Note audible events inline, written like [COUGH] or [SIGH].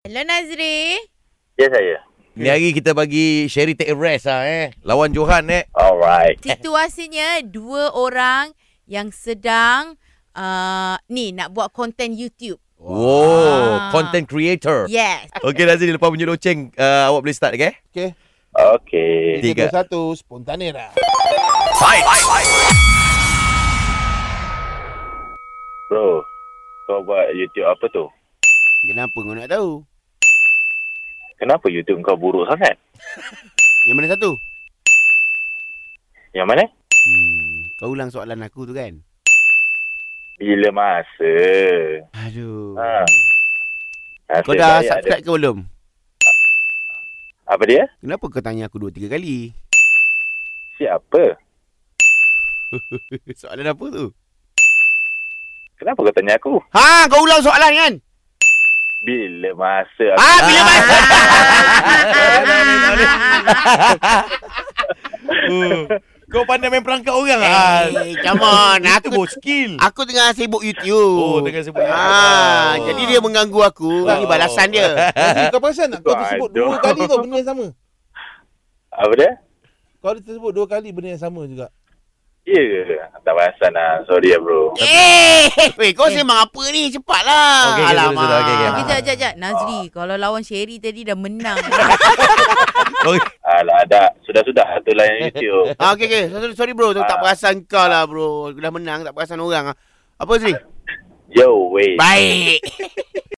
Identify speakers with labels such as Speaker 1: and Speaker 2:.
Speaker 1: Hello Nazri.
Speaker 2: Ya saya.
Speaker 3: Ni hari kita bagi Sherry take a rest lah eh. Lawan Johan eh.
Speaker 2: Alright.
Speaker 1: Situasinya dua orang yang sedang uh, ni nak buat konten YouTube.
Speaker 3: Wow,
Speaker 1: Ah.
Speaker 3: content creator.
Speaker 1: Yes.
Speaker 3: Okey Nazri, lepas bunyi loceng, uh, awak boleh start [LAUGHS] okay?
Speaker 4: Okey.
Speaker 2: Okey.
Speaker 3: Tiga.
Speaker 4: Tiga. Dua, satu. Spontanera.
Speaker 2: Bro, kau buat YouTube apa tu?
Speaker 4: Kenapa kau nak tahu?
Speaker 2: Kenapa YouTube kau buruk sangat?
Speaker 4: Yang mana satu?
Speaker 2: Yang mana?
Speaker 4: Hmm. Kau ulang soalan aku tu kan?
Speaker 2: Bila masa?
Speaker 4: Aduh.
Speaker 2: Ha. Nasib
Speaker 4: Kau dah
Speaker 2: baik
Speaker 4: subscribe ke belum?
Speaker 2: Ada. Apa dia?
Speaker 4: Kenapa kau tanya aku dua tiga kali?
Speaker 2: Siapa?
Speaker 4: soalan apa tu?
Speaker 2: Kenapa kau tanya aku?
Speaker 4: Ha, kau ulang soalan kan?
Speaker 2: Bila masa?
Speaker 4: Ha,
Speaker 2: Aku...
Speaker 4: bila masa? [LAUGHS]
Speaker 3: Uh, Kau pandai main perangkap orang lah.
Speaker 4: Eh, come on.
Speaker 3: Itu
Speaker 4: Aku
Speaker 3: buat skill.
Speaker 4: Aku tengah sibuk Oh. YouTube.
Speaker 3: Oh, tengah sibuk YouTube.
Speaker 4: Ah,
Speaker 3: Oh.
Speaker 4: jadi dia mengganggu aku. Ini balasan [LAUGHS] dia.
Speaker 5: Aziz, kau perasan tak? Kau tersebut dua
Speaker 2: Aduh.
Speaker 5: kali tau benda yang sama.
Speaker 2: Apa dia?
Speaker 5: Kau tersebut dua kali benda yang sama juga.
Speaker 2: Ya ke? Tak perasan lah. Sorry lah bro.
Speaker 1: Eh.
Speaker 4: Weh, kau sembang apa ni? Cepatlah.
Speaker 3: Okey, okey,
Speaker 4: Alamak.
Speaker 3: sudah, sudah. Okey, okey.
Speaker 1: Kejap, kejap, kejap. Nazri, kalau lawan Sherry tadi dah menang.
Speaker 3: Okey.
Speaker 2: Alah, dah. Sudah-sudah. Itulah yang YouTube.
Speaker 4: Ah, okay, okay. Sorry, sorry bro, tak, tak
Speaker 2: Ah.
Speaker 4: perasan kau lah bro. Aku dah menang, tak perasan orang. ah. Apa Sri?
Speaker 2: Yo, wait.
Speaker 4: Baik.